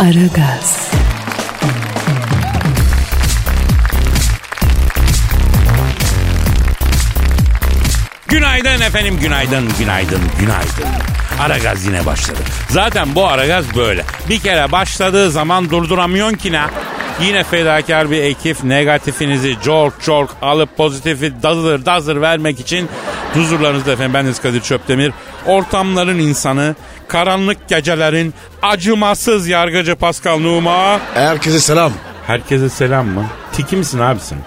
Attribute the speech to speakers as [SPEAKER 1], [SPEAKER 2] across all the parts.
[SPEAKER 1] Aragaz,
[SPEAKER 2] Günaydın efendim, günaydın, günaydın, günaydın. Aragaz yine başladı. Zaten bu Aragaz böyle. Bir kere başladığı zaman durduramıyorsun ki ne? Yine fedakar bir ekip negatifinizi cork cork alıp pozitifi dazır dazır vermek için huzurlarınızda efendim. Bendeniz Kadir Çöptemir. Ortamların insanı, karanlık gecelerin acımasız yargıcı Pascal Numa.
[SPEAKER 3] Herkese selam.
[SPEAKER 2] Herkese selam mı? Tiki misin abi sen?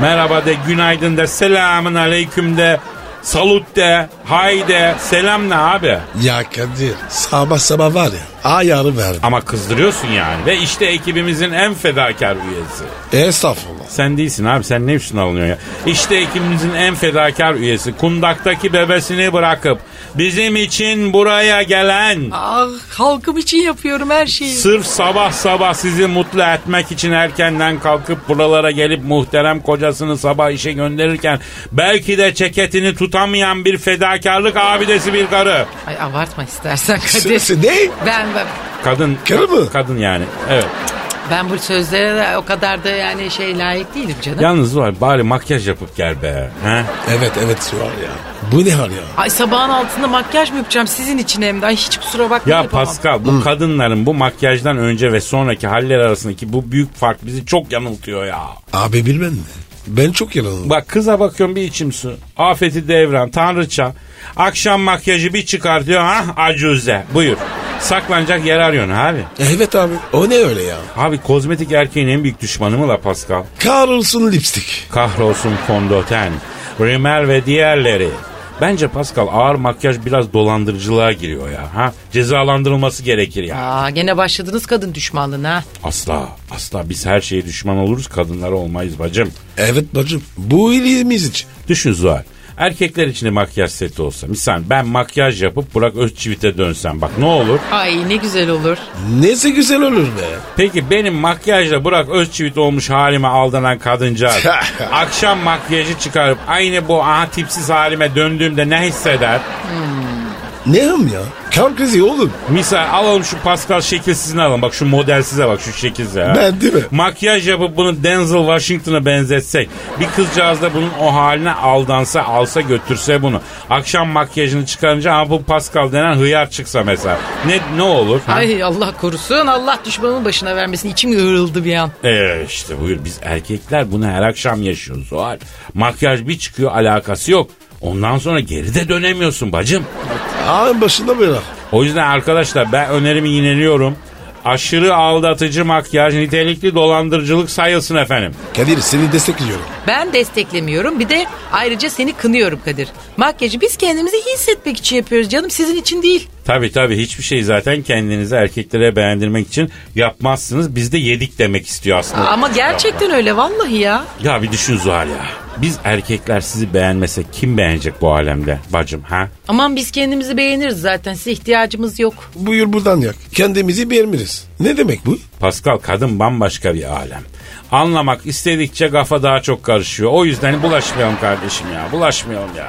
[SPEAKER 2] Merhaba de, günaydın de, selamın aleyküm de, salut de, hay de, selam ne abi?
[SPEAKER 3] Ya Kadir sabah sabah var ya ayarı verdim.
[SPEAKER 2] Ama kızdırıyorsun yani. Ve işte ekibimizin en fedakar üyesi.
[SPEAKER 3] Estağfurullah.
[SPEAKER 2] Sen değilsin abi sen ne üstüne alınıyorsun ya? İşte ekibimizin en fedakar üyesi. Kundaktaki bebesini bırakıp bizim için buraya gelen...
[SPEAKER 1] Ah halkım için yapıyorum her şeyi.
[SPEAKER 2] Sırf sabah sabah sizi mutlu etmek için erkenden kalkıp buralara gelip muhterem kocasını sabah işe gönderirken belki de ceketini tutamayan bir fedakarlık abidesi bir karı.
[SPEAKER 1] Ay abartma istersen
[SPEAKER 3] Sırası
[SPEAKER 1] Kadir.
[SPEAKER 3] ne?
[SPEAKER 1] ben, ben
[SPEAKER 2] Kadın.
[SPEAKER 3] Karı mı?
[SPEAKER 2] Kadın yani. Evet.
[SPEAKER 1] ben bu sözlere de o kadar da yani şey layık değilim canım.
[SPEAKER 2] Yalnız var bari makyaj yapıp gel be. He?
[SPEAKER 3] Evet evet var ya. Bu ne var ya?
[SPEAKER 1] Ay sabahın altında makyaj mı yapacağım sizin için hem de? Ay hiç kusura bakmayın.
[SPEAKER 2] Ya Pascal bu kadınların bu makyajdan önce ve sonraki haller arasındaki bu büyük fark bizi çok yanıltıyor ya.
[SPEAKER 3] Abi bilmem mi? Ben çok yanıldım.
[SPEAKER 2] Bak kıza bakıyorum bir içim su. Afeti devran, tanrıça. Akşam makyajı bir çıkartıyor ha acuze. Buyur. Saklanacak yer arıyorsun abi.
[SPEAKER 3] Evet abi o ne öyle ya?
[SPEAKER 2] Abi kozmetik erkeğin en büyük düşmanı mı la Pascal?
[SPEAKER 3] Karlsın lipstik.
[SPEAKER 2] Kahrolsun fondöten, rimel ve diğerleri. Bence Pascal ağır makyaj biraz dolandırıcılığa giriyor ya. Ha? Cezalandırılması gerekir ya.
[SPEAKER 1] Aa, gene başladınız kadın düşmanlığına.
[SPEAKER 2] Asla, asla biz her şeye düşman oluruz, kadınlara olmayız bacım.
[SPEAKER 3] Evet bacım bu iyiliğimiz için.
[SPEAKER 2] Düşün Zuhal. Erkekler için de makyaj seti olsa. Misal ben makyaj yapıp Burak Özçivit'e dönsem bak ne olur.
[SPEAKER 1] Ay ne güzel olur.
[SPEAKER 3] Neyse güzel olur be.
[SPEAKER 2] Peki benim makyajla Burak Özçivit olmuş halime aldanan kadıncağız. akşam makyajı çıkarıp aynı bu aha tipsiz halime döndüğümde ne hisseder?
[SPEAKER 3] Ne ham ya? Kar krizi oğlum.
[SPEAKER 2] Misal alalım şu Pascal şekilsizini alalım. Bak şu model size bak şu şekilsize. ha.
[SPEAKER 3] Ben değil mi?
[SPEAKER 2] Makyaj yapıp bunu Denzel Washington'a benzetsek. Bir kızcağız da bunun o haline aldansa alsa götürse bunu. Akşam makyajını çıkarınca ha bu Pascal denen hıyar çıksa mesela. Ne ne olur? Ha?
[SPEAKER 1] Ay Allah korusun Allah düşmanımın başına vermesin. İçim yığıldı bir an.
[SPEAKER 2] Ee, işte buyur biz erkekler bunu her akşam yaşıyoruz o hal. Makyaj bir çıkıyor alakası yok. Ondan sonra geride dönemiyorsun bacım.
[SPEAKER 3] Ağın başında bırak.
[SPEAKER 2] O yüzden arkadaşlar ben önerimi yineliyorum. Aşırı aldatıcı makyaj nitelikli dolandırıcılık sayılsın efendim.
[SPEAKER 3] Kadir seni destekliyorum.
[SPEAKER 1] Ben desteklemiyorum. Bir de ayrıca seni kınıyorum Kadir. Makyajı biz kendimizi iyi hissetmek için yapıyoruz canım. Sizin için değil.
[SPEAKER 2] Tabi tabi hiçbir şey zaten kendinizi erkeklere beğendirmek için yapmazsınız. Biz de yedik demek istiyor aslında.
[SPEAKER 1] Ama gerçekten öyle vallahi ya.
[SPEAKER 2] Ya bir düşün Zuhal ya. Biz erkekler sizi beğenmese kim beğenecek bu alemde bacım ha?
[SPEAKER 1] Aman biz kendimizi beğeniriz zaten. Size ihtiyacımız yok.
[SPEAKER 3] Buyur buradan yak. Kendimizi beğenmiriz. Ne demek bu?
[SPEAKER 2] Pascal kadın bambaşka bir alem. Anlamak istedikçe kafa daha çok karışıyor. O yüzden bulaşmayalım kardeşim ya. Bulaşmayalım ya.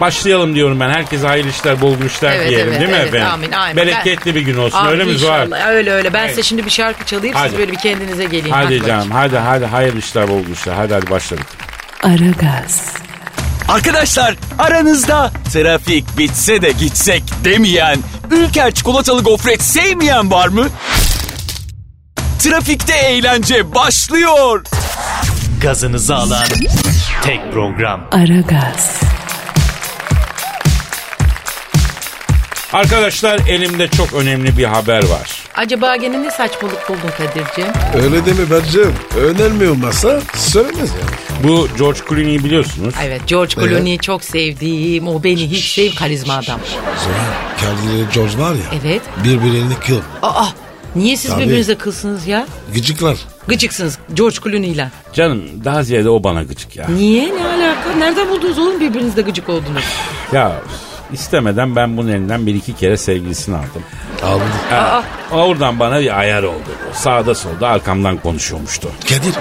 [SPEAKER 2] Başlayalım diyorum ben. Herkese hayırlı işler, bol güçler
[SPEAKER 1] Evet,
[SPEAKER 2] diyelim
[SPEAKER 1] evet,
[SPEAKER 2] değil mi
[SPEAKER 1] evet.
[SPEAKER 2] efendim?
[SPEAKER 1] Amin, amin.
[SPEAKER 2] Bereketli bir gün olsun
[SPEAKER 1] Amin
[SPEAKER 2] öyle mi Zuhal?
[SPEAKER 1] inşallah. Öyle öyle. Ben size
[SPEAKER 2] Evet.
[SPEAKER 1] şimdi bir şarkı çalayım. Siz
[SPEAKER 2] Hadi.
[SPEAKER 1] böyle bir kendinize gelin.
[SPEAKER 2] Hadi
[SPEAKER 1] bakayım.
[SPEAKER 2] canım hadi hadi hayırlı işler, bol güçler. Hadi hadi başladık.
[SPEAKER 4] Aragaz,
[SPEAKER 5] Arkadaşlar aranızda trafik bitse de gitsek demeyen, Ülker çikolatalı gofret sevmeyen var mı? Trafikte eğlence başlıyor. Gazınızı alan tek program.
[SPEAKER 4] Aragaz,
[SPEAKER 2] Arkadaşlar elimde çok önemli bir haber var.
[SPEAKER 1] Acaba gene ne saçmalık buldun Kadir'ciğim?
[SPEAKER 3] Öyle deme bacım. Önermiyor masa söylemez ya.
[SPEAKER 2] Bu George Clooney'i biliyorsunuz.
[SPEAKER 1] Evet George Clooney'i çok sevdiğim o beni hiç sev karizma adam.
[SPEAKER 3] Sonra Kendini George var ya.
[SPEAKER 1] Evet.
[SPEAKER 3] Birbirlerini kıl.
[SPEAKER 1] Aa niye siz
[SPEAKER 3] Tabii.
[SPEAKER 1] birbirinize kılsınız ya?
[SPEAKER 3] Gıcıklar.
[SPEAKER 1] Gıcıksınız George Clooney'le.
[SPEAKER 2] Canım daha ziyade o bana gıcık ya.
[SPEAKER 1] Niye ne alaka? Nereden buldunuz oğlum birbirinizde gıcık oldunuz?
[SPEAKER 2] Ya istemeden ben bunun elinden bir iki kere sevgilisini aldım.
[SPEAKER 3] Aldı.
[SPEAKER 2] Ha, oradan bana bir ayar oldu. Sağda solda arkamdan konuşuyormuştu.
[SPEAKER 3] Kadir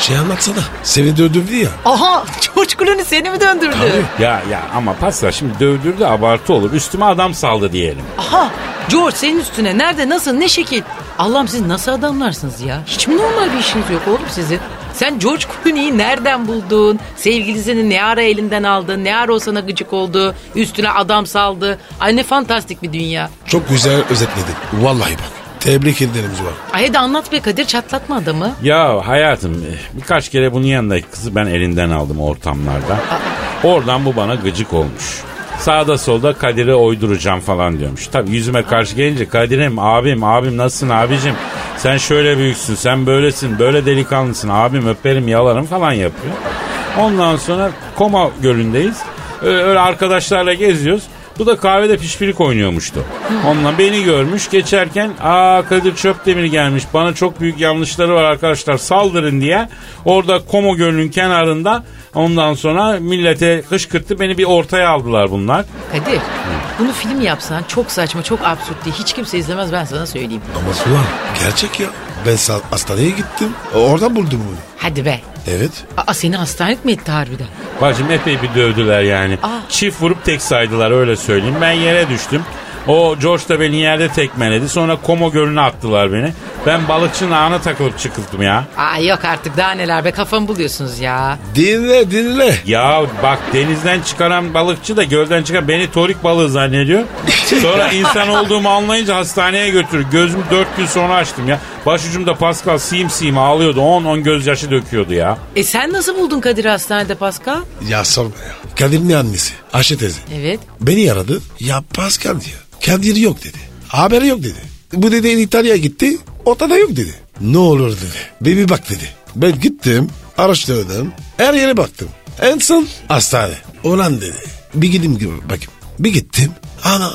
[SPEAKER 3] şey anlatsana. Seni dövdü ya.
[SPEAKER 1] Aha George Clooney seni mi döndürdü?
[SPEAKER 2] Ya ya ama pasla şimdi dövdürdü abartı olur. Üstüme adam saldı diyelim.
[SPEAKER 1] Aha George senin üstüne nerede nasıl ne şekil? Allah'ım siz nasıl adamlarsınız ya? Hiç mi normal bir işiniz yok oğlum sizin? Sen George Clooney'i nereden buldun? Sevgilisini ne ara elinden aldın? Ne ara o sana gıcık oldu? Üstüne adam saldı. Ay ne fantastik bir dünya.
[SPEAKER 3] Çok güzel özetledin. Vallahi bak. Tebrik ederim Zuhal.
[SPEAKER 1] Ay hadi anlat be Kadir çatlatma adamı.
[SPEAKER 2] Ya hayatım eh, birkaç kere bunun yanındaki kızı ben elinden aldım ortamlarda. Oradan bu bana gıcık olmuş. Sağda solda Kadir'e oyduracağım falan diyormuş. Tabi yüzüme karşı gelince Kadir'im abim abim nasılsın abicim? Sen şöyle büyüksün sen böylesin böyle delikanlısın abim öperim yalarım falan yapıyor. Ondan sonra koma gölündeyiz. Ee, Öyle arkadaşlarla geziyoruz. Bu da kahvede pişpirik oynuyormuştu. Onunla beni görmüş geçerken aa Kadir Çöpdemir gelmiş bana çok büyük yanlışları var arkadaşlar saldırın diye. Orada Komo Gölü'nün kenarında ondan sonra millete kışkırttı beni bir ortaya aldılar bunlar.
[SPEAKER 1] Kadir bunu film yapsan çok saçma çok absürt diye hiç kimse izlemez ben sana söyleyeyim.
[SPEAKER 3] Ama Zuhal gerçek ya. Ben sa- hastaneye gittim. Oradan buldum bunu.
[SPEAKER 1] Hadi be.
[SPEAKER 3] Evet.
[SPEAKER 1] Aa seni hastanelik mi etti harbiden?
[SPEAKER 2] Bacım epey bir dövdüler yani.
[SPEAKER 1] Aa.
[SPEAKER 2] Çift vurup tek saydılar öyle söyleyeyim. Ben yere düştüm. O George da beni yerde tekmeledi. Sonra Komo Gölü'ne attılar beni. Ben balıkçının ağına takılıp çıkıldım ya.
[SPEAKER 1] Aa yok artık daha neler be kafamı buluyorsunuz ya.
[SPEAKER 3] Dinle dinle.
[SPEAKER 2] Ya bak denizden çıkaran balıkçı da gölden çıkan beni torik balığı zannediyor. Sonra insan olduğumu anlayınca hastaneye götürür. Gözümü dört gün sonra açtım ya. Başucumda Pascal siyim siyim ağlıyordu. 10-10 gözyaşı döküyordu ya.
[SPEAKER 1] E sen nasıl buldun Kadir hastanede Pascal?
[SPEAKER 3] Ya sorma ya. Kadir'in annesi. Ayşe teyze.
[SPEAKER 1] Evet.
[SPEAKER 3] Beni aradı. Ya Pascal diyor. Kadir yok dedi. Haberi yok dedi. Bu dedi İtalya'ya gitti. Ortada yok dedi. Ne olur dedi. Bebi bak dedi. Ben gittim. Araştırdım. Her yere baktım. En son hastane. Ulan dedi. Bir gideyim gibi bakayım. Bir gittim. Ana.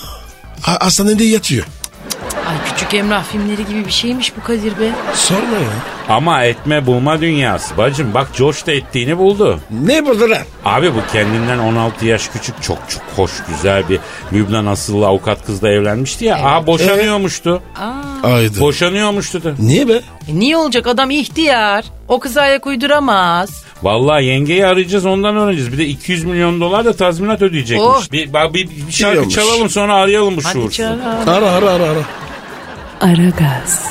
[SPEAKER 3] ha- Hastanede yatıyor.
[SPEAKER 1] Ay küçük Emrah filmleri gibi bir şeymiş bu Kadir be.
[SPEAKER 3] Sorma ya.
[SPEAKER 2] Ama etme bulma dünyası. Bacım bak George da ettiğini buldu.
[SPEAKER 3] Ne buldu lan?
[SPEAKER 2] Abi bu kendinden 16 yaş küçük çok çok hoş güzel bir Lübnan asıllı avukat kızla evlenmişti ya. Aa boşanıyormuştu.
[SPEAKER 3] Aydı.
[SPEAKER 2] Boşanıyormuştu da.
[SPEAKER 3] Niye be?
[SPEAKER 1] E niye olacak adam ihtiyar. O kıza ayak uyduramaz.
[SPEAKER 2] Vallahi yengeyi arayacağız ondan öğreneceğiz. Bir de 200 milyon dolar da tazminat ödeyecekmiş.
[SPEAKER 1] Oh.
[SPEAKER 2] Bir, bak bir, bir şarkı
[SPEAKER 3] Biliyormuş.
[SPEAKER 2] çalalım sonra arayalım bu
[SPEAKER 1] Hadi
[SPEAKER 2] şuursuz.
[SPEAKER 1] canım.
[SPEAKER 3] Ara ara ara ara.
[SPEAKER 4] Aragaz,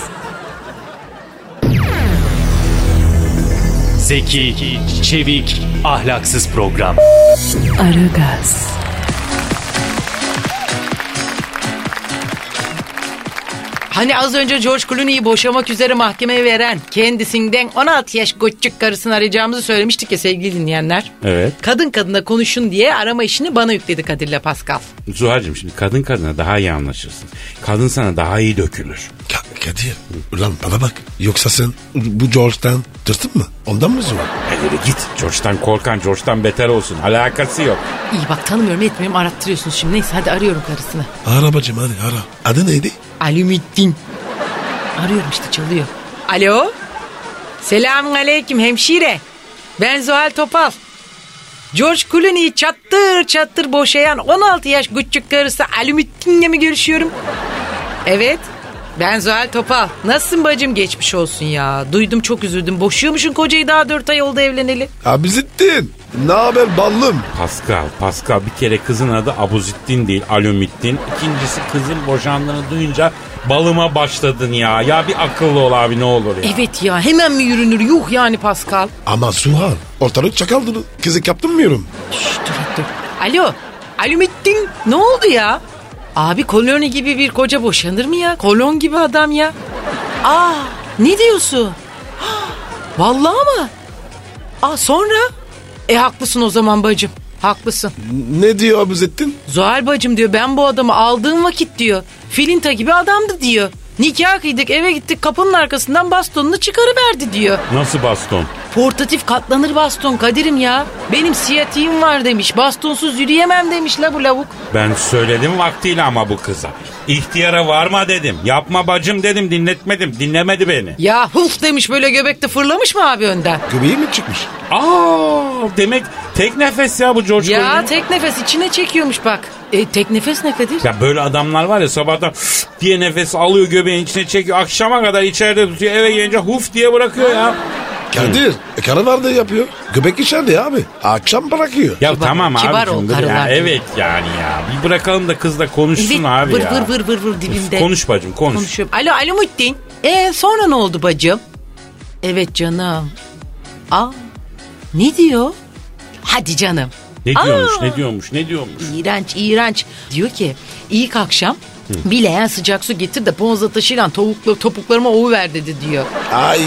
[SPEAKER 6] Zeki, çevik, ahlaksız program.
[SPEAKER 4] Aragaz,
[SPEAKER 1] Hani az önce George Clooney'i boşamak üzere mahkemeye veren kendisinden 16 yaş küçük karısını arayacağımızı söylemiştik ya sevgili dinleyenler.
[SPEAKER 2] Evet.
[SPEAKER 1] Kadın kadına konuşun diye arama işini bana yükledi Kadir'le Pascal.
[SPEAKER 2] Zuhal'cığım şimdi kadın kadına daha iyi anlaşırsın. Kadın sana daha iyi dökülür.
[SPEAKER 3] Ka- Kadir. Ulan bana bak. Yoksa sen bu George'dan tırtın mı? Ondan mı zor?
[SPEAKER 2] Hadi git. George'dan korkan George'dan beter olsun. Alakası yok.
[SPEAKER 1] İyi bak tanımıyorum etmiyorum arattırıyorsunuz şimdi neyse hadi arıyorum karısını.
[SPEAKER 3] Ara bacım hadi ara. Adı neydi?
[SPEAKER 1] Alümüddin. Arıyorum işte çalıyor. Alo. Selamun aleyküm hemşire. Ben Zuhal Topal. George Clooney'i çattır çattır boşayan 16 yaş küçük karısı Alümüddin'le mi görüşüyorum? Evet. Ben Zuhal Topal. Nasılsın bacım geçmiş olsun ya. Duydum çok üzüldüm. Boşuyormuşsun kocayı daha 4 ay oldu evleneli.
[SPEAKER 3] Abizittin. Ne haber ballım?
[SPEAKER 2] Pascal, Pascal bir kere kızın adı Abuzittin değil, Alümittin. İkincisi kızın boşandığını duyunca balıma başladın ya. Ya bir akıllı ol abi ne olur ya.
[SPEAKER 1] Evet ya hemen mi yürünür yuh yani Pascal.
[SPEAKER 3] Ama Suhan ortalık çakaldın. Kızık yaptın mı yorum?
[SPEAKER 1] Şşş, dur dur. Alo. Alümittin ne oldu ya? Abi koloni gibi bir koca boşanır mı ya? Kolon gibi adam ya. Aa ne diyorsun? Vallahi mı? Aa sonra? E haklısın o zaman bacım. Haklısın.
[SPEAKER 3] Ne diyor Abuzettin?
[SPEAKER 1] Zuhal bacım diyor ben bu adamı aldığım vakit diyor. Filinta gibi adamdı diyor. Nikah kıydık eve gittik kapının arkasından bastonunu çıkarıverdi diyor.
[SPEAKER 2] Nasıl baston?
[SPEAKER 1] Portatif katlanır baston Kadir'im ya. Benim siyatiğim var demiş. Bastonsuz yürüyemem demiş la bu lavuk.
[SPEAKER 2] Ben söyledim vaktiyle ama bu kıza. İhtiyara varma dedim. Yapma bacım dedim dinletmedim. Dinlemedi beni.
[SPEAKER 1] Ya huf demiş böyle göbekte fırlamış mı abi önden?
[SPEAKER 3] Göbeği mi çıkmış?
[SPEAKER 2] Aa demek tek nefes ya bu George
[SPEAKER 1] Ya
[SPEAKER 2] Clooney.
[SPEAKER 1] tek nefes içine çekiyormuş bak. E tek nefes ne Kadir?
[SPEAKER 2] Ya böyle adamlar var ya sabahtan diye nefes alıyor göbeğin içine çekiyor. Akşama kadar içeride tutuyor eve gelince huf diye bırakıyor ya.
[SPEAKER 3] Kadir. E, karı vardı yapıyor. Göbek içeride abi. Akşam bırakıyor.
[SPEAKER 2] Ya
[SPEAKER 1] Kibar-
[SPEAKER 2] tamam abi.
[SPEAKER 1] E, kibar ol
[SPEAKER 2] şimdi
[SPEAKER 1] karılar
[SPEAKER 2] ya,
[SPEAKER 1] gibi.
[SPEAKER 2] evet yani ya. Bir bırakalım da kız da konuşsun
[SPEAKER 1] Dip,
[SPEAKER 2] abi
[SPEAKER 1] vır,
[SPEAKER 2] ya.
[SPEAKER 1] Vır vır vır vır dibimde.
[SPEAKER 2] Konuş bacım konuş.
[SPEAKER 1] Konuşuyorum. Alo alo Muhittin. E sonra ne oldu bacım? Evet canım. Aa ne diyor? Hadi canım.
[SPEAKER 2] Ne
[SPEAKER 1] Aa!
[SPEAKER 2] diyormuş ne diyormuş ne diyormuş.
[SPEAKER 1] İğrenç iğrenç. Diyor ki ilk akşam bir leğen sıcak su getir de ponza taşıyla tavuklu topuklarıma ovu ver dedi diyor.
[SPEAKER 3] Ay.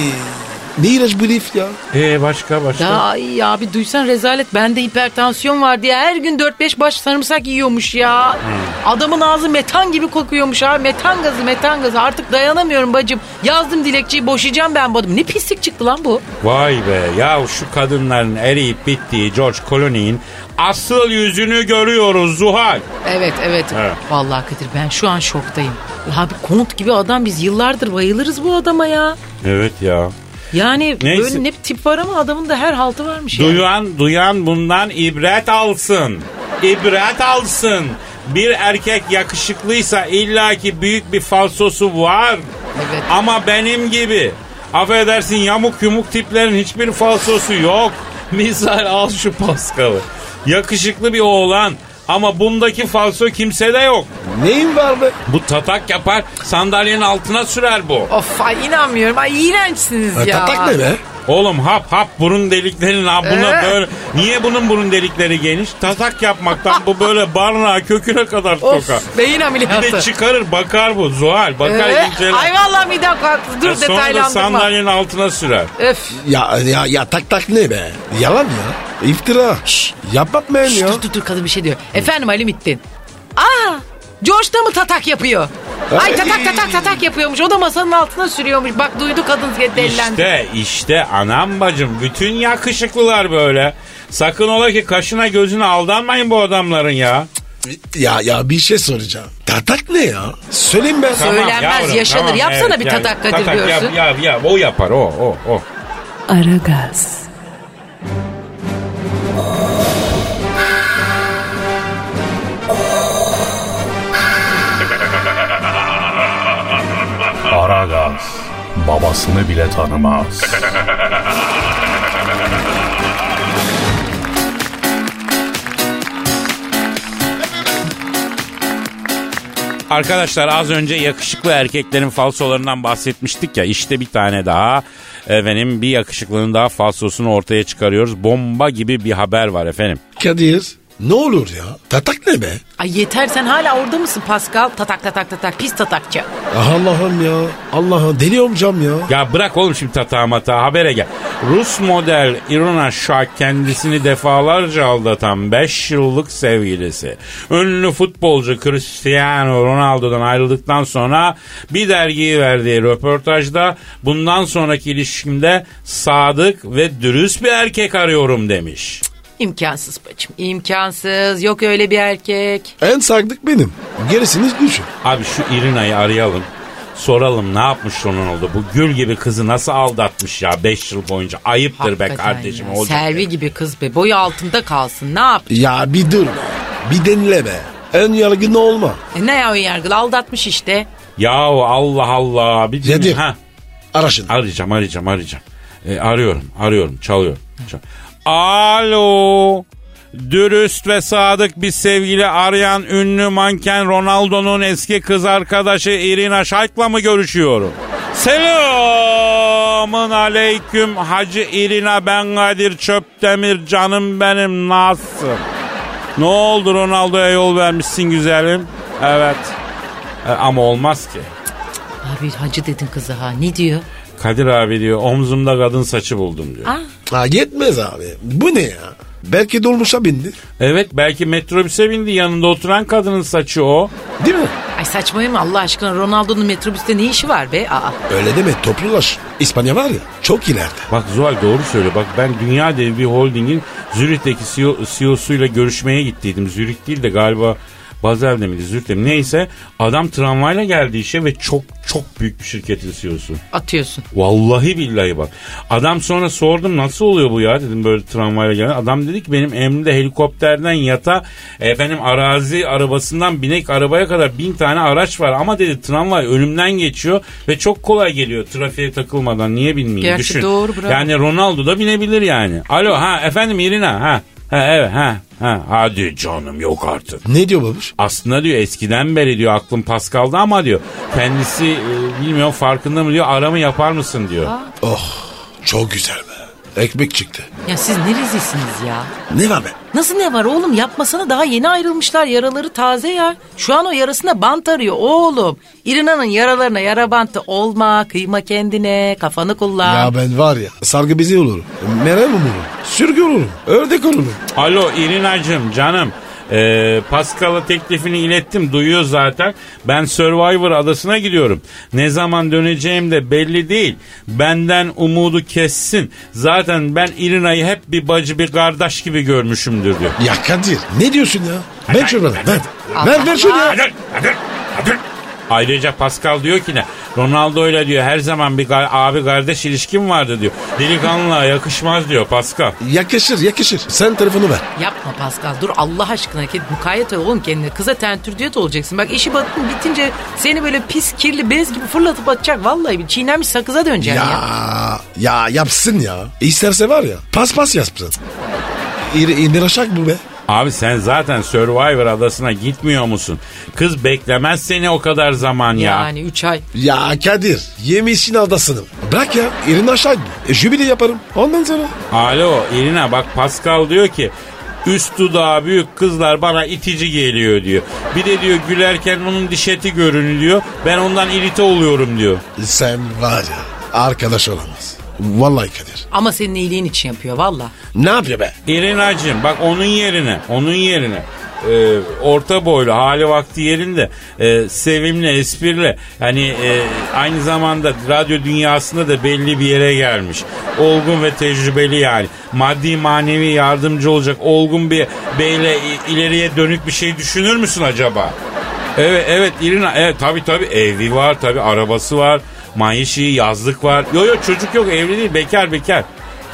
[SPEAKER 3] Ne iğrenç bu herif ya.
[SPEAKER 2] Ee başka başka.
[SPEAKER 1] Ya iyi abi duysan rezalet bende hipertansiyon var diye her gün 4-5 baş sarımsak yiyormuş ya. Adamın ağzı metan gibi kokuyormuş abi metan gazı metan gazı artık dayanamıyorum bacım. Yazdım dilekçeyi boşayacağım ben bu adamı. Ne pislik çıktı lan bu.
[SPEAKER 2] Vay be ya şu kadınların eriyip bittiği George Clooney'in asıl yüzünü görüyoruz Zuhal.
[SPEAKER 1] Evet evet.
[SPEAKER 2] Evet.
[SPEAKER 1] Vallahi Kadir ben şu an şoktayım. Abi kont gibi adam biz yıllardır bayılırız bu adama ya.
[SPEAKER 2] Evet ya.
[SPEAKER 1] Yani
[SPEAKER 2] Neyse.
[SPEAKER 1] böyle ne tip var ama adamın da her haltı varmış ya.
[SPEAKER 2] Duyan duyan bundan ibret alsın. İbret alsın. Bir erkek yakışıklıysa illaki büyük bir falsosu var.
[SPEAKER 1] Evet.
[SPEAKER 2] Ama benim gibi. Affedersin yamuk yumuk tiplerin hiçbir falsosu yok. Misal al şu Paskal'ı. Yakışıklı bir oğlan. Ama bundaki falso kimsede yok.
[SPEAKER 3] Neyin var be?
[SPEAKER 2] Bu tatak yapar sandalyenin altına sürer bu.
[SPEAKER 1] Of ay inanmıyorum. Ay iğrençsiniz
[SPEAKER 3] Ha,
[SPEAKER 1] ya.
[SPEAKER 3] Tatak ne be?
[SPEAKER 2] Oğlum hap hap burun deliklerinin abına
[SPEAKER 1] Ee?
[SPEAKER 2] böyle. Niye bunun burun delikleri geniş? Tatak yapmaktan bu böyle barnağa köküne kadar
[SPEAKER 1] Of
[SPEAKER 2] soka.
[SPEAKER 1] beyin
[SPEAKER 2] Bir de
[SPEAKER 1] ameliyatı.
[SPEAKER 2] çıkarır bakar bu Zuhal bakar
[SPEAKER 1] Ee,
[SPEAKER 2] inceler.
[SPEAKER 1] ay vallahi midem kalktı. Dur
[SPEAKER 2] Ya Sonra da
[SPEAKER 1] detaylandırma.
[SPEAKER 2] sandalyenin altına sürer.
[SPEAKER 1] Öf.
[SPEAKER 3] Ya, ya, ya tak tak ne be? Yalan ya. İftira. Şş, yapmayın
[SPEAKER 1] Şş,
[SPEAKER 3] ya.
[SPEAKER 1] dur dur dur kadın bir şey diyor. Efendim Ali Mittin. Aa George da mı tatak yapıyor? Ay
[SPEAKER 3] Ay.
[SPEAKER 1] tatak tatak tatak yapıyormuş. O da masanın altına sürüyormuş. Bak duydu kadın dellendi.
[SPEAKER 2] İşte işte anam bacım bütün yakışıklılar böyle. Sakın ola ki kaşına gözüne aldanmayın bu adamların ya.
[SPEAKER 3] Ya ya bir şey soracağım. Tatak ne ya? Söyleyin ben.
[SPEAKER 1] Söyle. Söylenmez, yaşanır. Yapsana bir
[SPEAKER 2] yani
[SPEAKER 1] tatak Kadir görsün.
[SPEAKER 2] Yap, yap, yap. O yapar o o o.
[SPEAKER 4] Aragaz,
[SPEAKER 6] Aragaz. Babasını bile tanımaz.
[SPEAKER 2] Arkadaşlar az önce yakışıklı erkeklerin falsolarından bahsetmiştik ya. İşte bir tane daha efendim bir yakışıklının daha falsosunu ortaya çıkarıyoruz. Bomba gibi bir haber var efendim.
[SPEAKER 3] Kadir ne olur ya? Tatak ne be?
[SPEAKER 1] Ay yeter sen hala orada mısın Pascal? Tatak tatak tatak pis tatakçı.
[SPEAKER 3] Allah'ım ya. Allah'ım deli olacağım ya.
[SPEAKER 2] Ya bırak oğlum şimdi tatamata habere gel. Rus model Irina Shayk kendisini defalarca aldatan 5 yıllık sevgilisi. Ünlü futbolcu Cristiano Ronaldo'dan ayrıldıktan sonra bir dergiye verdiği röportajda bundan sonraki ilişkimde sadık ve dürüst bir erkek arıyorum demiş.
[SPEAKER 1] İmkansız bacım. İmkansız. Yok öyle bir erkek.
[SPEAKER 3] En sadık benim. Gerisini düşün.
[SPEAKER 2] Abi şu Irina'yı arayalım. Soralım ne yapmış onun oldu? Bu gül gibi kızı nasıl aldatmış ya 5 yıl boyunca? Ayıptır be
[SPEAKER 1] Hakikaten
[SPEAKER 2] kardeşim.
[SPEAKER 1] ya.
[SPEAKER 2] olacak şey
[SPEAKER 1] Servi
[SPEAKER 2] ya.
[SPEAKER 1] gibi kız be. Boyu altında kalsın. Ne yap?
[SPEAKER 3] Ya bir dur be. Bir denile be. En yargın olma.
[SPEAKER 1] E ne ya ön yargılı aldatmış işte.
[SPEAKER 2] Yahu Allah Allah. Bir
[SPEAKER 3] Nedir?
[SPEAKER 2] Ha,
[SPEAKER 3] Araşın.
[SPEAKER 2] arayacağım arayacağım arayacağım. E, arıyorum arıyorum çalıyorum. Çal- Alo. Dürüst ve sadık bir sevgili arayan ünlü manken Ronaldo'nun eski kız arkadaşı Irina Shayk'la mı görüşüyorum? Selamın aleyküm Hacı Irina ben Kadir Çöptemir canım benim nasılsın? Ne oldu Ronaldo'ya yol vermişsin güzelim? Evet. E, ama olmaz ki.
[SPEAKER 1] Abi hacı dedin kızı ha. Ne diyor?
[SPEAKER 2] Kadir abi diyor omzumda kadın saçı buldum diyor.
[SPEAKER 1] Aa,
[SPEAKER 3] Ha, yetmez abi. Bu ne ya? Belki dolmuşa bindi.
[SPEAKER 2] Evet belki metrobüse bindi yanında oturan kadının saçı o.
[SPEAKER 3] Değil mi?
[SPEAKER 1] Ay saçmayın mı Allah aşkına Ronaldo'nun metrobüste ne işi var be? Aa.
[SPEAKER 3] Öyle deme toplulaş. İspanya var ya çok ileride.
[SPEAKER 2] Bak Zuhal doğru söyle. Bak ben dünya devi bir holdingin Zürih'teki E CEO, CEO'suyla görüşmeye gittiydim. Zürih değil de galiba Bazel'de miydi Zürih'te mi? Neyse adam tramvayla geldi işe ve çok çok büyük bir şirketin E CEO'su.
[SPEAKER 1] Atıyorsun.
[SPEAKER 2] Vallahi billahi bak. Adam sonra sordum nasıl oluyor bu ya dedim böyle tramvayla gelen. Adam dedi ki benim emrimde helikopterden yata efendim arazi arabasından binek arabaya kadar bin tane araç var. Ama dedi tramvay önümden geçiyor ve çok kolay geliyor trafiğe takılmadan niye bilmeyeyim
[SPEAKER 1] Gerçi
[SPEAKER 2] düşün.
[SPEAKER 1] doğru, bravo.
[SPEAKER 2] Yani Ronaldo da binebilir yani. Alo ha efendim Irina ha. Ha evet ha. Ha, hadi canım yok artık.
[SPEAKER 3] Ne diyor babuş?
[SPEAKER 2] Aslında diyor eskiden beri diyor aklım Pascal'da ama diyor kendisi e, bilmiyorum farkında mı diyor aramı yapar mısın diyor.
[SPEAKER 3] Oh çok güzel be. Ekmek çıktı.
[SPEAKER 1] Ya siz ne rezilsiniz ya?
[SPEAKER 3] Ne var be?
[SPEAKER 1] Nasıl ne var oğlum yapmasana daha yeni ayrılmışlar yaraları taze ya. Şu an o yarasına bant arıyor oğlum. İrina'nın yaralarına yara bantı olma kıyma kendine kafanı kullan.
[SPEAKER 3] Ya ben var ya sargı bezi olurum. Meral olurum. Sürgü olurum. Ördek olurum.
[SPEAKER 2] Alo İrinacım canım. Ee, Pascal'a teklifini ilettim duyuyor zaten. Ben Survivor adasına gidiyorum. Ne zaman döneceğim de belli değil. Benden umudu kessin. Zaten ben İrina'yı hep bir bacı bir kardeş gibi görmüşümdür diyor.
[SPEAKER 3] Ya Kadir ne diyorsun ya? Ver şunu bana ver. Ver ver şunu ya.
[SPEAKER 2] Ayrıca Pascal diyor ki ne? Ronaldo ile diyor her zaman bir gar- abi kardeş ilişkim vardı diyor. Delikanlığa yakışmaz diyor Pascal.
[SPEAKER 3] Yakışır yakışır. Sen telefonu ver.
[SPEAKER 1] Yapma Pascal dur Allah aşkına ki mukayyet ol oğlum kendine. Kıza tentürdiyet olacaksın. Bak işi batın bitince seni böyle pis kirli bez gibi fırlatıp atacak. Vallahi bir çiğnenmiş sakıza döneceksin ya.
[SPEAKER 3] Ya ya yapsın ya. İsterse var ya pas pas yapsın. İr, İndireşak bu be.
[SPEAKER 2] Abi sen zaten Survivor adasına gitmiyor musun? Kız beklemez seni o kadar zaman ya.
[SPEAKER 1] Yani 3 ay.
[SPEAKER 3] Ya Kadir yemişin adasını. Bırak ya irin aşağı. E, jübile yaparım. Ondan sonra.
[SPEAKER 2] Alo Irina bak Pascal diyor ki üst dudağı büyük kızlar bana itici geliyor diyor. Bir de diyor gülerken onun diş eti görünüyor. Ben ondan irite oluyorum diyor.
[SPEAKER 3] Sen var ya arkadaş olamaz. Vallahi Kadir.
[SPEAKER 1] Ama senin iyiliğin için yapıyor valla.
[SPEAKER 3] Ne yapıyor be?
[SPEAKER 2] İrinacığım bak onun yerine, onun yerine e, orta boylu hali vakti yerinde e, sevimli esprili hani e, aynı zamanda radyo dünyasında da belli bir yere gelmiş olgun ve tecrübeli yani maddi manevi yardımcı olacak olgun bir beyle i- ileriye dönük bir şey düşünür müsün acaba? Evet evet İrina evet tabii tabii evi var tabii arabası var manyeşi yazlık var yo yo çocuk yok evli değil bekar bekar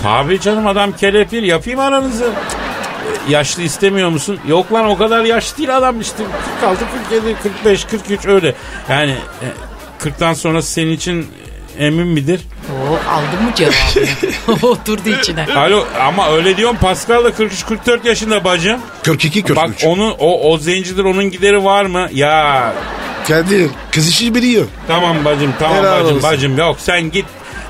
[SPEAKER 2] Tabii canım adam kelepir yapayım aranızı. E, Yaşlı istemiyor musun? Yok lan o kadar yaşlı değil adam işte 46, 47, 45, 43 öyle. Yani e, 40'tan sonra senin için emin midir?
[SPEAKER 1] Oo, aldın mı cevabını? Oturdu içine.
[SPEAKER 2] Alo ama öyle diyorum Pascal da 43-44 yaşında bacım.
[SPEAKER 3] 42
[SPEAKER 2] Bak
[SPEAKER 3] 43.
[SPEAKER 2] onu o, o zencidir onun gideri var mı? Ya
[SPEAKER 3] Kadir kız işi biliyor.
[SPEAKER 2] Tamam bacım tamam
[SPEAKER 3] Helal
[SPEAKER 2] bacım
[SPEAKER 3] olsun.
[SPEAKER 2] bacım yok sen git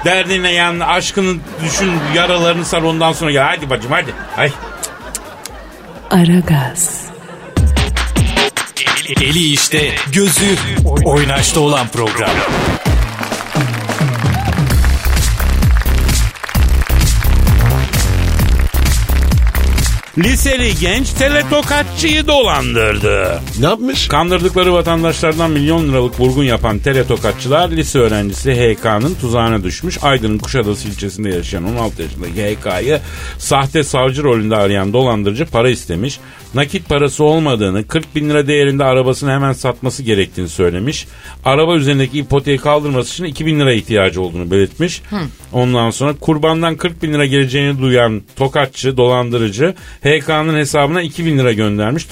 [SPEAKER 2] derdine yan aşkını düşün yaralarını sar ondan sonra gel hadi bacım hadi. Ay.
[SPEAKER 4] Aragaz,
[SPEAKER 5] Eli işte, gözü oynaşta olan program.
[SPEAKER 2] Liseli genç teletokatçıyı dolandırdı.
[SPEAKER 3] Ne yapmış?
[SPEAKER 2] Kandırdıkları vatandaşlardan milyon liralık vurgun yapan teletokatçılar lise öğrencisi HK'nın tuzağına düşmüş. Aydın'ın Kuşadası ilçesinde yaşayan 16 yaşındaki HK'yı sahte savcı rolünde arayan dolandırıcı para istemiş. Nakit parası olmadığını, 40 bin lira değerinde arabasını hemen satması gerektiğini söylemiş. Araba üzerindeki ipoteği kaldırması için 2 bin lira ihtiyacı olduğunu belirtmiş. Ondan sonra kurbandan 40 bin lira geleceğini duyan tokatçı, dolandırıcı HK'nın hesabına 2 bin lira göndermiş.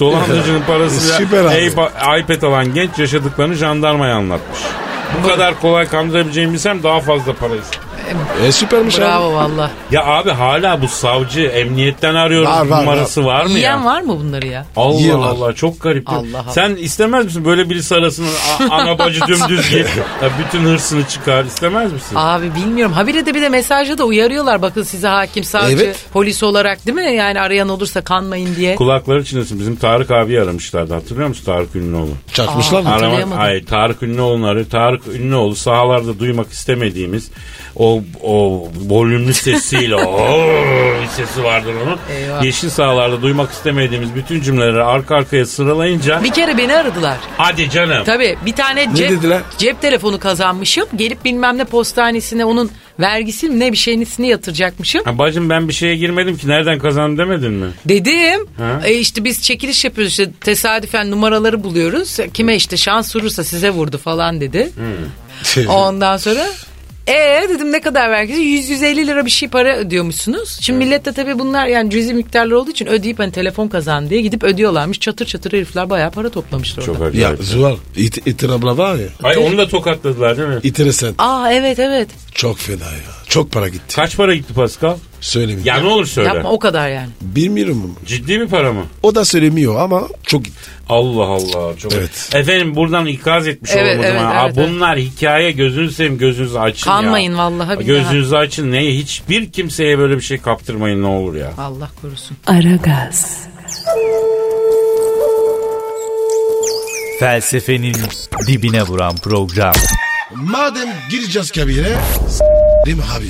[SPEAKER 2] Dolandırıcının parasıyla
[SPEAKER 3] Süper abi.
[SPEAKER 2] Eyüp iPa- iPad alan genç yaşadıklarını jandarmaya anlatmış. Bu kadar kolay kandırabileceğimi bilsem daha fazla para isterim.
[SPEAKER 3] E, süpermiş abi.
[SPEAKER 1] Bravo valla.
[SPEAKER 2] Ya abi hala bu savcı emniyetten arıyoruz
[SPEAKER 3] Var, var,
[SPEAKER 2] numarası var, mı ya?
[SPEAKER 1] Yiyen var mı bunları ya?
[SPEAKER 2] Allah
[SPEAKER 3] Yiyorlar.
[SPEAKER 2] Allah çok garip.
[SPEAKER 1] Allah Allah.
[SPEAKER 2] Sen istemez misin böyle birisi arasın a- ana bacı dümdüz git. Ya bütün hırsını çıkar istemez misin?
[SPEAKER 1] Abi bilmiyorum. Habire de bir de mesajda da uyarıyorlar. Bakın size hakim, savcı,
[SPEAKER 3] Evet.
[SPEAKER 1] polis olarak değil mi? Yani arayan olursa kanmayın diye.
[SPEAKER 2] Kulakları çınlasın. Bizim Tarık abi aramışlardı hatırlıyor musun Tarık Ünlüoğlu?
[SPEAKER 3] Çarpmışlar mı?
[SPEAKER 1] Aa.
[SPEAKER 2] Arama,
[SPEAKER 1] Hatırlayamadım.
[SPEAKER 2] hayır Tarık Ünlüoğlu'nu arıyor. Tarık Ünlüoğlu sahalarda duymak istemediğimiz o o volümlü sesiyle o bir sesi vardır onun.
[SPEAKER 1] Eyvah.
[SPEAKER 2] Yeşil sahalarda duymak istemediğimiz bütün cümleleri arka arkaya sıralayınca
[SPEAKER 1] Bir kere beni aradılar.
[SPEAKER 2] hadi canım.
[SPEAKER 1] Tabii bir tane cep,
[SPEAKER 3] dediler?
[SPEAKER 1] cep telefonu kazanmışım. Gelip bilmem ne postanesine onun vergisi mi ne bir şeyinisini yatıracakmışım.
[SPEAKER 2] Ha, bacım ben bir şeye girmedim ki nereden kazandım demedin mi?
[SPEAKER 1] Dedim.
[SPEAKER 2] Ha?
[SPEAKER 1] E işte biz çekiliş yapıyoruz işte tesadüfen numaraları buluyoruz. Kime işte şans vurursa size vurdu falan dedi. Ondan sonra ee dedim ne kadar vergisi? 100-150 lira bir şey para ödüyormuşsunuz. Şimdi millet de tabii bunlar yani cüzi miktarlar olduğu için ödeyip hani telefon kazan diye gidip ödüyorlarmış. Çatır çatır herifler bayağı para toplamışlar orada.
[SPEAKER 2] Çok acayip.
[SPEAKER 3] ya Zuhal it, itin abla var ya.
[SPEAKER 2] Ay onu da tokatladılar değil mi?
[SPEAKER 3] İtiresen.
[SPEAKER 1] Aa evet evet.
[SPEAKER 3] Çok fena ya. Çok para gitti.
[SPEAKER 2] Kaç para gitti Pascal?
[SPEAKER 3] Söylemeyeyim.
[SPEAKER 2] Ya ne olur söyle.
[SPEAKER 1] Yapma o kadar yani.
[SPEAKER 3] Bilmiyorum.
[SPEAKER 2] Ciddi mi para mı?
[SPEAKER 3] O da söylemiyor ama çok gitti.
[SPEAKER 2] Allah Allah. Çok
[SPEAKER 3] Evet.
[SPEAKER 2] Efendim buradan ikaz etmiş
[SPEAKER 1] Evet,
[SPEAKER 2] olamadım.
[SPEAKER 1] evet,
[SPEAKER 2] ha.
[SPEAKER 1] evet,
[SPEAKER 2] Aa, bunlar hikaye gözünüzü seveyim gözünüzü açın
[SPEAKER 1] Kanmayın
[SPEAKER 2] ya.
[SPEAKER 1] vallahi billahi.
[SPEAKER 2] Gözünüzü açın. Ne, hiçbir kimseye böyle bir şey kaptırmayın ne olur ya.
[SPEAKER 1] Allah korusun.
[SPEAKER 4] Aragaz,
[SPEAKER 5] Felsefenin dibine vuran program.
[SPEAKER 3] Madem gireceğiz kabire. Değil mi abi?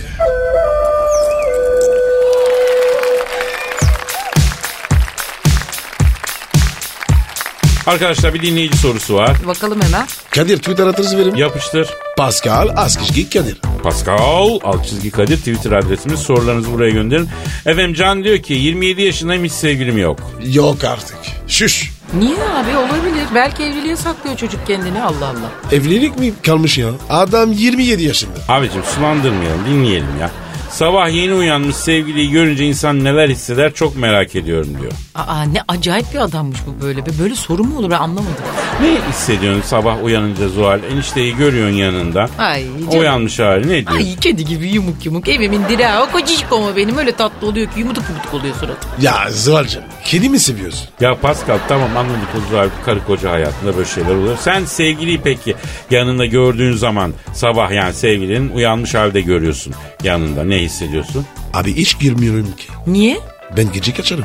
[SPEAKER 2] Arkadaşlar bir dinleyici sorusu var.
[SPEAKER 1] Bakalım hemen.
[SPEAKER 3] Kadir Twitter adresi verim.
[SPEAKER 2] Yapıştır.
[SPEAKER 3] Pascal Askışki Kadir.
[SPEAKER 2] Pascal alt çizgi Kadir Twitter adresimiz. Sorularınızı buraya gönderin. Efendim Can diyor ki 27 yaşındayım hiç sevgilim yok.
[SPEAKER 3] Yok artık. Şuş.
[SPEAKER 1] Niye abi olabilir. Belki evliliğe saklıyor çocuk kendini Allah Allah.
[SPEAKER 3] Evlilik mi kalmış ya? Adam 27 yaşında.
[SPEAKER 2] Abicim sulandırmayalım dinleyelim ya. Sabah yeni uyanmış sevgiliyi görünce insan neler hisseder çok merak ediyorum diyor.
[SPEAKER 1] Aa ne acayip bir adammış bu böyle. be. Böyle soru mu olur ben anlamadım.
[SPEAKER 2] Ne hissediyorsun sabah uyanınca Zuhal? Enişteyi görüyorsun yanında.
[SPEAKER 1] Ay canım.
[SPEAKER 2] Uyanmış hali ne diyor?
[SPEAKER 1] Ay kedi gibi yumuk yumuk evimin direği o kocacık ama benim öyle tatlı oluyor ki yumuduk yumuduk oluyor suratım.
[SPEAKER 3] Ya Zuhal'cığım kedi mi seviyorsun?
[SPEAKER 2] Ya Pascal tamam anladık o Zuhal karı koca hayatında böyle şeyler oluyor. Sen sevgiliyi peki yanında gördüğün zaman sabah yani sevgilinin uyanmış halde görüyorsun yanında ne hissediyorsun?
[SPEAKER 3] Abi hiç girmiyorum ki.
[SPEAKER 1] Niye?
[SPEAKER 3] Ben gece kaçarım.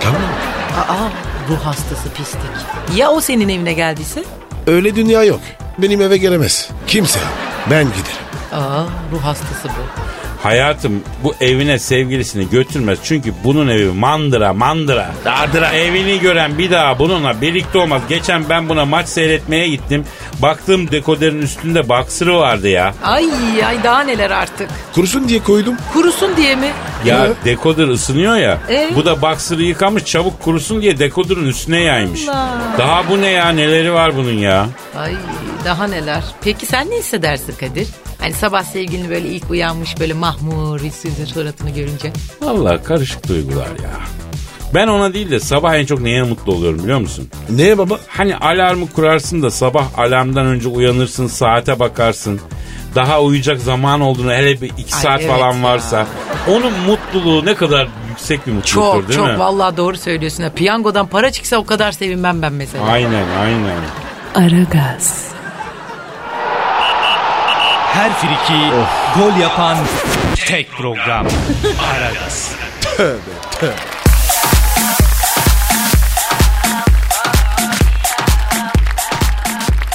[SPEAKER 3] Tamam.
[SPEAKER 1] Aa ruh hastası pislik. Ya o senin evine geldiyse?
[SPEAKER 3] Öyle dünya yok. Benim eve gelemez. Kimse. Ben giderim.
[SPEAKER 1] Aa ruh hastası bu.
[SPEAKER 2] Hayatım bu evine sevgilisini götürmez çünkü bunun evi mandıra mandıra dardıra evini gören bir daha bununla birlikte olmaz. Geçen ben buna maç seyretmeye gittim baktığım dekoderin üstünde baksırı vardı ya.
[SPEAKER 1] Ay ay daha neler artık.
[SPEAKER 3] Kurusun diye koydum.
[SPEAKER 1] Kurusun diye mi?
[SPEAKER 2] Ya dekoder ısınıyor ya.
[SPEAKER 1] Ee?
[SPEAKER 2] Bu da boxer'ı yıkamış çabuk kurusun diye dekoderın üstüne yaymış. Daha bu ne ya neleri var bunun ya.
[SPEAKER 1] Ay daha neler. Peki sen ne hissedersin Kadir? Hani sabah sevgilini böyle ilk uyanmış böyle mahmur hissizin suratını görünce.
[SPEAKER 2] Vallahi karışık duygular ya. Ben ona değil de sabah en çok neye mutlu oluyorum biliyor musun?
[SPEAKER 3] Ne baba?
[SPEAKER 2] Hani alarmı kurarsın da sabah alarmdan önce uyanırsın saate bakarsın. Daha uyuyacak zaman olduğunu hele bir iki
[SPEAKER 1] Ay,
[SPEAKER 2] saat
[SPEAKER 1] evet
[SPEAKER 2] falan
[SPEAKER 1] ya.
[SPEAKER 2] varsa. Onun mutluluğu ne kadar yüksek bir mutluluktur
[SPEAKER 1] Çok
[SPEAKER 2] değil
[SPEAKER 1] çok
[SPEAKER 2] mi?
[SPEAKER 1] vallahi doğru söylüyorsun. Ha, Piyangodan para çıksa o kadar sevinmem ben mesela.
[SPEAKER 2] Aynen aynen.
[SPEAKER 4] Aragaz,
[SPEAKER 5] Her friki gol yapan tek program. Aragaz.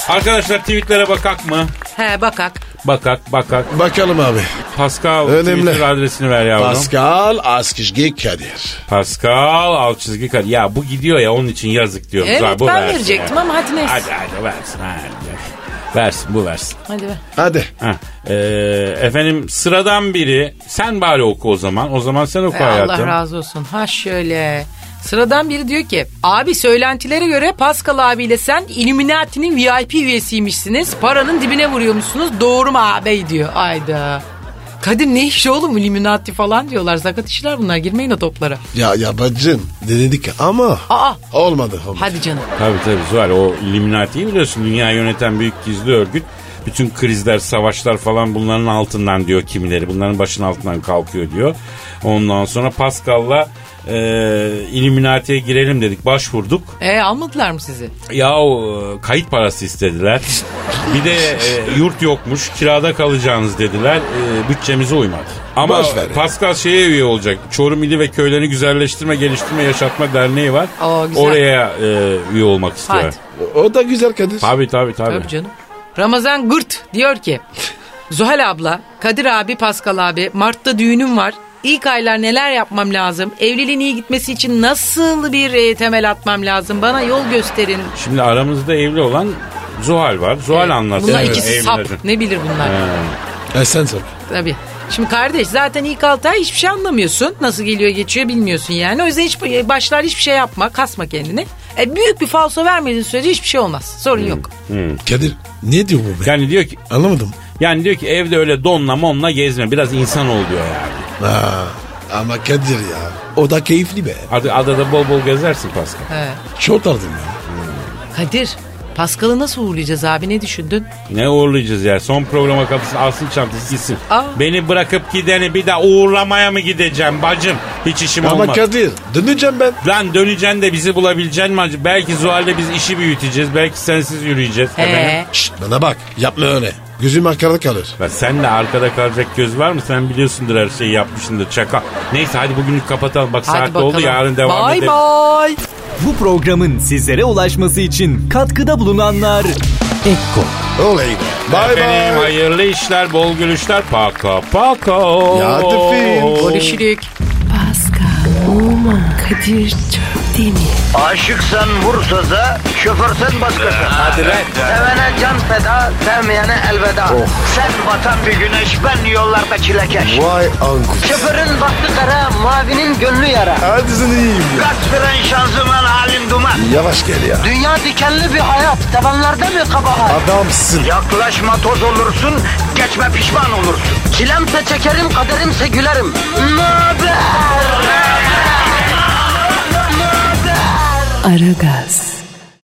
[SPEAKER 2] Arkadaşlar tweetlere bakak mı?
[SPEAKER 1] He bakak.
[SPEAKER 2] Bakak bakak.
[SPEAKER 3] Bakalım abi.
[SPEAKER 2] Pascal
[SPEAKER 3] Önemli.
[SPEAKER 2] Twitter adresini ver yavrum.
[SPEAKER 3] Pascal Askışki Kadir.
[SPEAKER 2] Pascal alt çizgi kat. Ya bu gidiyor ya onun için yazık diyorum.
[SPEAKER 1] Evet,
[SPEAKER 2] Zaten bu
[SPEAKER 1] ben
[SPEAKER 2] versin
[SPEAKER 1] verecektim
[SPEAKER 2] ya.
[SPEAKER 1] ama hadi neyse.
[SPEAKER 2] Hadi hadi versin. Hadi. Versin bu versin.
[SPEAKER 1] Hadi be.
[SPEAKER 3] Hadi.
[SPEAKER 2] Ha, ee, efendim sıradan biri sen bari oku o zaman. O zaman sen oku
[SPEAKER 1] Ey
[SPEAKER 2] hayatım.
[SPEAKER 1] E, Allah razı olsun. Ha şöyle. Sıradan biri diyor ki abi söylentilere göre Pascal abiyle sen Illuminati'nin VIP üyesiymişsiniz. Paranın dibine vuruyormuşsunuz. Doğru mu ağabey diyor. Ayda. Kadir ne iş oğlum Illuminati falan diyorlar. Sakat işler bunlar girmeyin o toplara.
[SPEAKER 3] Ya yabancım dedik ama
[SPEAKER 1] Aa
[SPEAKER 3] olmadı. olmadı.
[SPEAKER 1] hadi canım.
[SPEAKER 2] Tabii tabii Zuhal o Illuminati'yi biliyorsun. Dünya yöneten büyük gizli örgüt. Bütün krizler, savaşlar falan bunların altından diyor kimileri. Bunların başının altından kalkıyor diyor. Ondan sonra Pascal'la e, Illuminati'ye girelim dedik. Başvurduk.
[SPEAKER 1] E almadılar mı sizi?
[SPEAKER 2] Ya e, kayıt parası istediler. Bir de e, yurt yokmuş, kirada kalacağınız dediler. E, bütçemize uymadı. Ama
[SPEAKER 3] Boş ver ya.
[SPEAKER 2] Pascal şeye üye olacak. Çorum ili ve köylerini güzelleştirme, geliştirme, yaşatma derneği var.
[SPEAKER 1] Aa, güzel.
[SPEAKER 2] Oraya e, üye olmak istiyor.
[SPEAKER 1] Hadi.
[SPEAKER 3] O da güzel Kadir.
[SPEAKER 2] Tabii tabii tabii.
[SPEAKER 1] Tabii canım. Ramazan Gırt diyor ki Zuhal abla, Kadir abi, Pascal abi, Mart'ta düğünüm var. İlk aylar neler yapmam lazım? Evliliğin iyi gitmesi için nasıl bir e, temel atmam lazım? Bana yol gösterin.
[SPEAKER 2] Şimdi aramızda evli olan Zuhal var. Zuhal anlatsın.
[SPEAKER 1] Bunlar
[SPEAKER 2] Evet,
[SPEAKER 1] ikisi
[SPEAKER 2] evlilerin.
[SPEAKER 1] sap. Ne bilir bunlar?
[SPEAKER 3] E sen sor.
[SPEAKER 1] Tabii. Şimdi kardeş zaten ilk altı ay hiçbir şey anlamıyorsun. Nasıl geliyor geçiyor bilmiyorsun yani. O yüzden hiç başlar hiçbir şey yapma. Kasma kendini. E, büyük bir falso vermediğin sürece hiçbir şey olmaz. Sorun yok.
[SPEAKER 3] Kadir ne diyor bu be?
[SPEAKER 2] Yani diyor ki
[SPEAKER 3] Anlamadım.
[SPEAKER 2] yani diyor ki evde öyle donla monla gezme. Biraz insan ol diyor yani.
[SPEAKER 3] Ha, ama Kadir ya. O da keyifli be.
[SPEAKER 2] Ad- adada bol bol gezersin Pascal.
[SPEAKER 1] He.
[SPEAKER 3] Çok tardım ya.
[SPEAKER 1] Kadir Paskal'ı nasıl uğurlayacağız abi ne düşündün?
[SPEAKER 2] Ne uğurlayacağız ya? Son programa kapısını alsın çantası gitsin.
[SPEAKER 1] Aa.
[SPEAKER 2] Beni bırakıp gideni bir daha uğurlamaya mı gideceğim bacım? Hiç işim
[SPEAKER 3] Ama
[SPEAKER 2] olmaz.
[SPEAKER 3] Kadir döneceğim ben.
[SPEAKER 2] Lan döneceksin de bizi bulabileceksin mi? acı? Belki Zuhal'le biz işi büyüteceğiz. Belki sensiz yürüyeceğiz.
[SPEAKER 1] He.
[SPEAKER 3] Şşt bana bak yapma öyle. Gözüm arkada kalır.
[SPEAKER 2] Lan sen de arkada kalacak göz var mı? Sen biliyorsundur her şeyi yapmışsındır çaka. Neyse hadi bugünlük kapatalım. Bak
[SPEAKER 1] Hadi
[SPEAKER 2] saat
[SPEAKER 1] bakalım.
[SPEAKER 2] oldu yarın devam
[SPEAKER 1] bye
[SPEAKER 2] edelim.
[SPEAKER 1] bye.
[SPEAKER 5] Bu programın sizlere ulaşması için katkıda bulunanlar...
[SPEAKER 3] Olay be. Bay
[SPEAKER 2] Efendim
[SPEAKER 3] bay.
[SPEAKER 2] hayırlı işler, bol gülüşler. Paka paka.
[SPEAKER 3] Ya Tüfin.
[SPEAKER 1] Görüşürük.
[SPEAKER 4] Pascal, Oman, Kadir çok değil mi?
[SPEAKER 7] Aşıksan vursa da, şoförsen başkasın. Hadi
[SPEAKER 2] lan.
[SPEAKER 7] Sevene can feda, sevmeyene elveda.
[SPEAKER 3] Oh.
[SPEAKER 7] Sen batan bir güneş, ben yollarda çilekeş.
[SPEAKER 3] Vay anku.
[SPEAKER 7] Şoförün baktı kara, mavinin gönlü yara.
[SPEAKER 3] Hadi sen iyiyim ya.
[SPEAKER 7] Kasperen şanzıman halin duman.
[SPEAKER 3] Yavaş gel ya.
[SPEAKER 7] Dünya dikenli bir hayat, sevenlerde mi kabahar?
[SPEAKER 3] Adamsın.
[SPEAKER 7] Yaklaşma toz olursun, geçme pişman olursun. Çilemse çekerim, kaderimse gülerim. Möber!
[SPEAKER 4] Aragaz.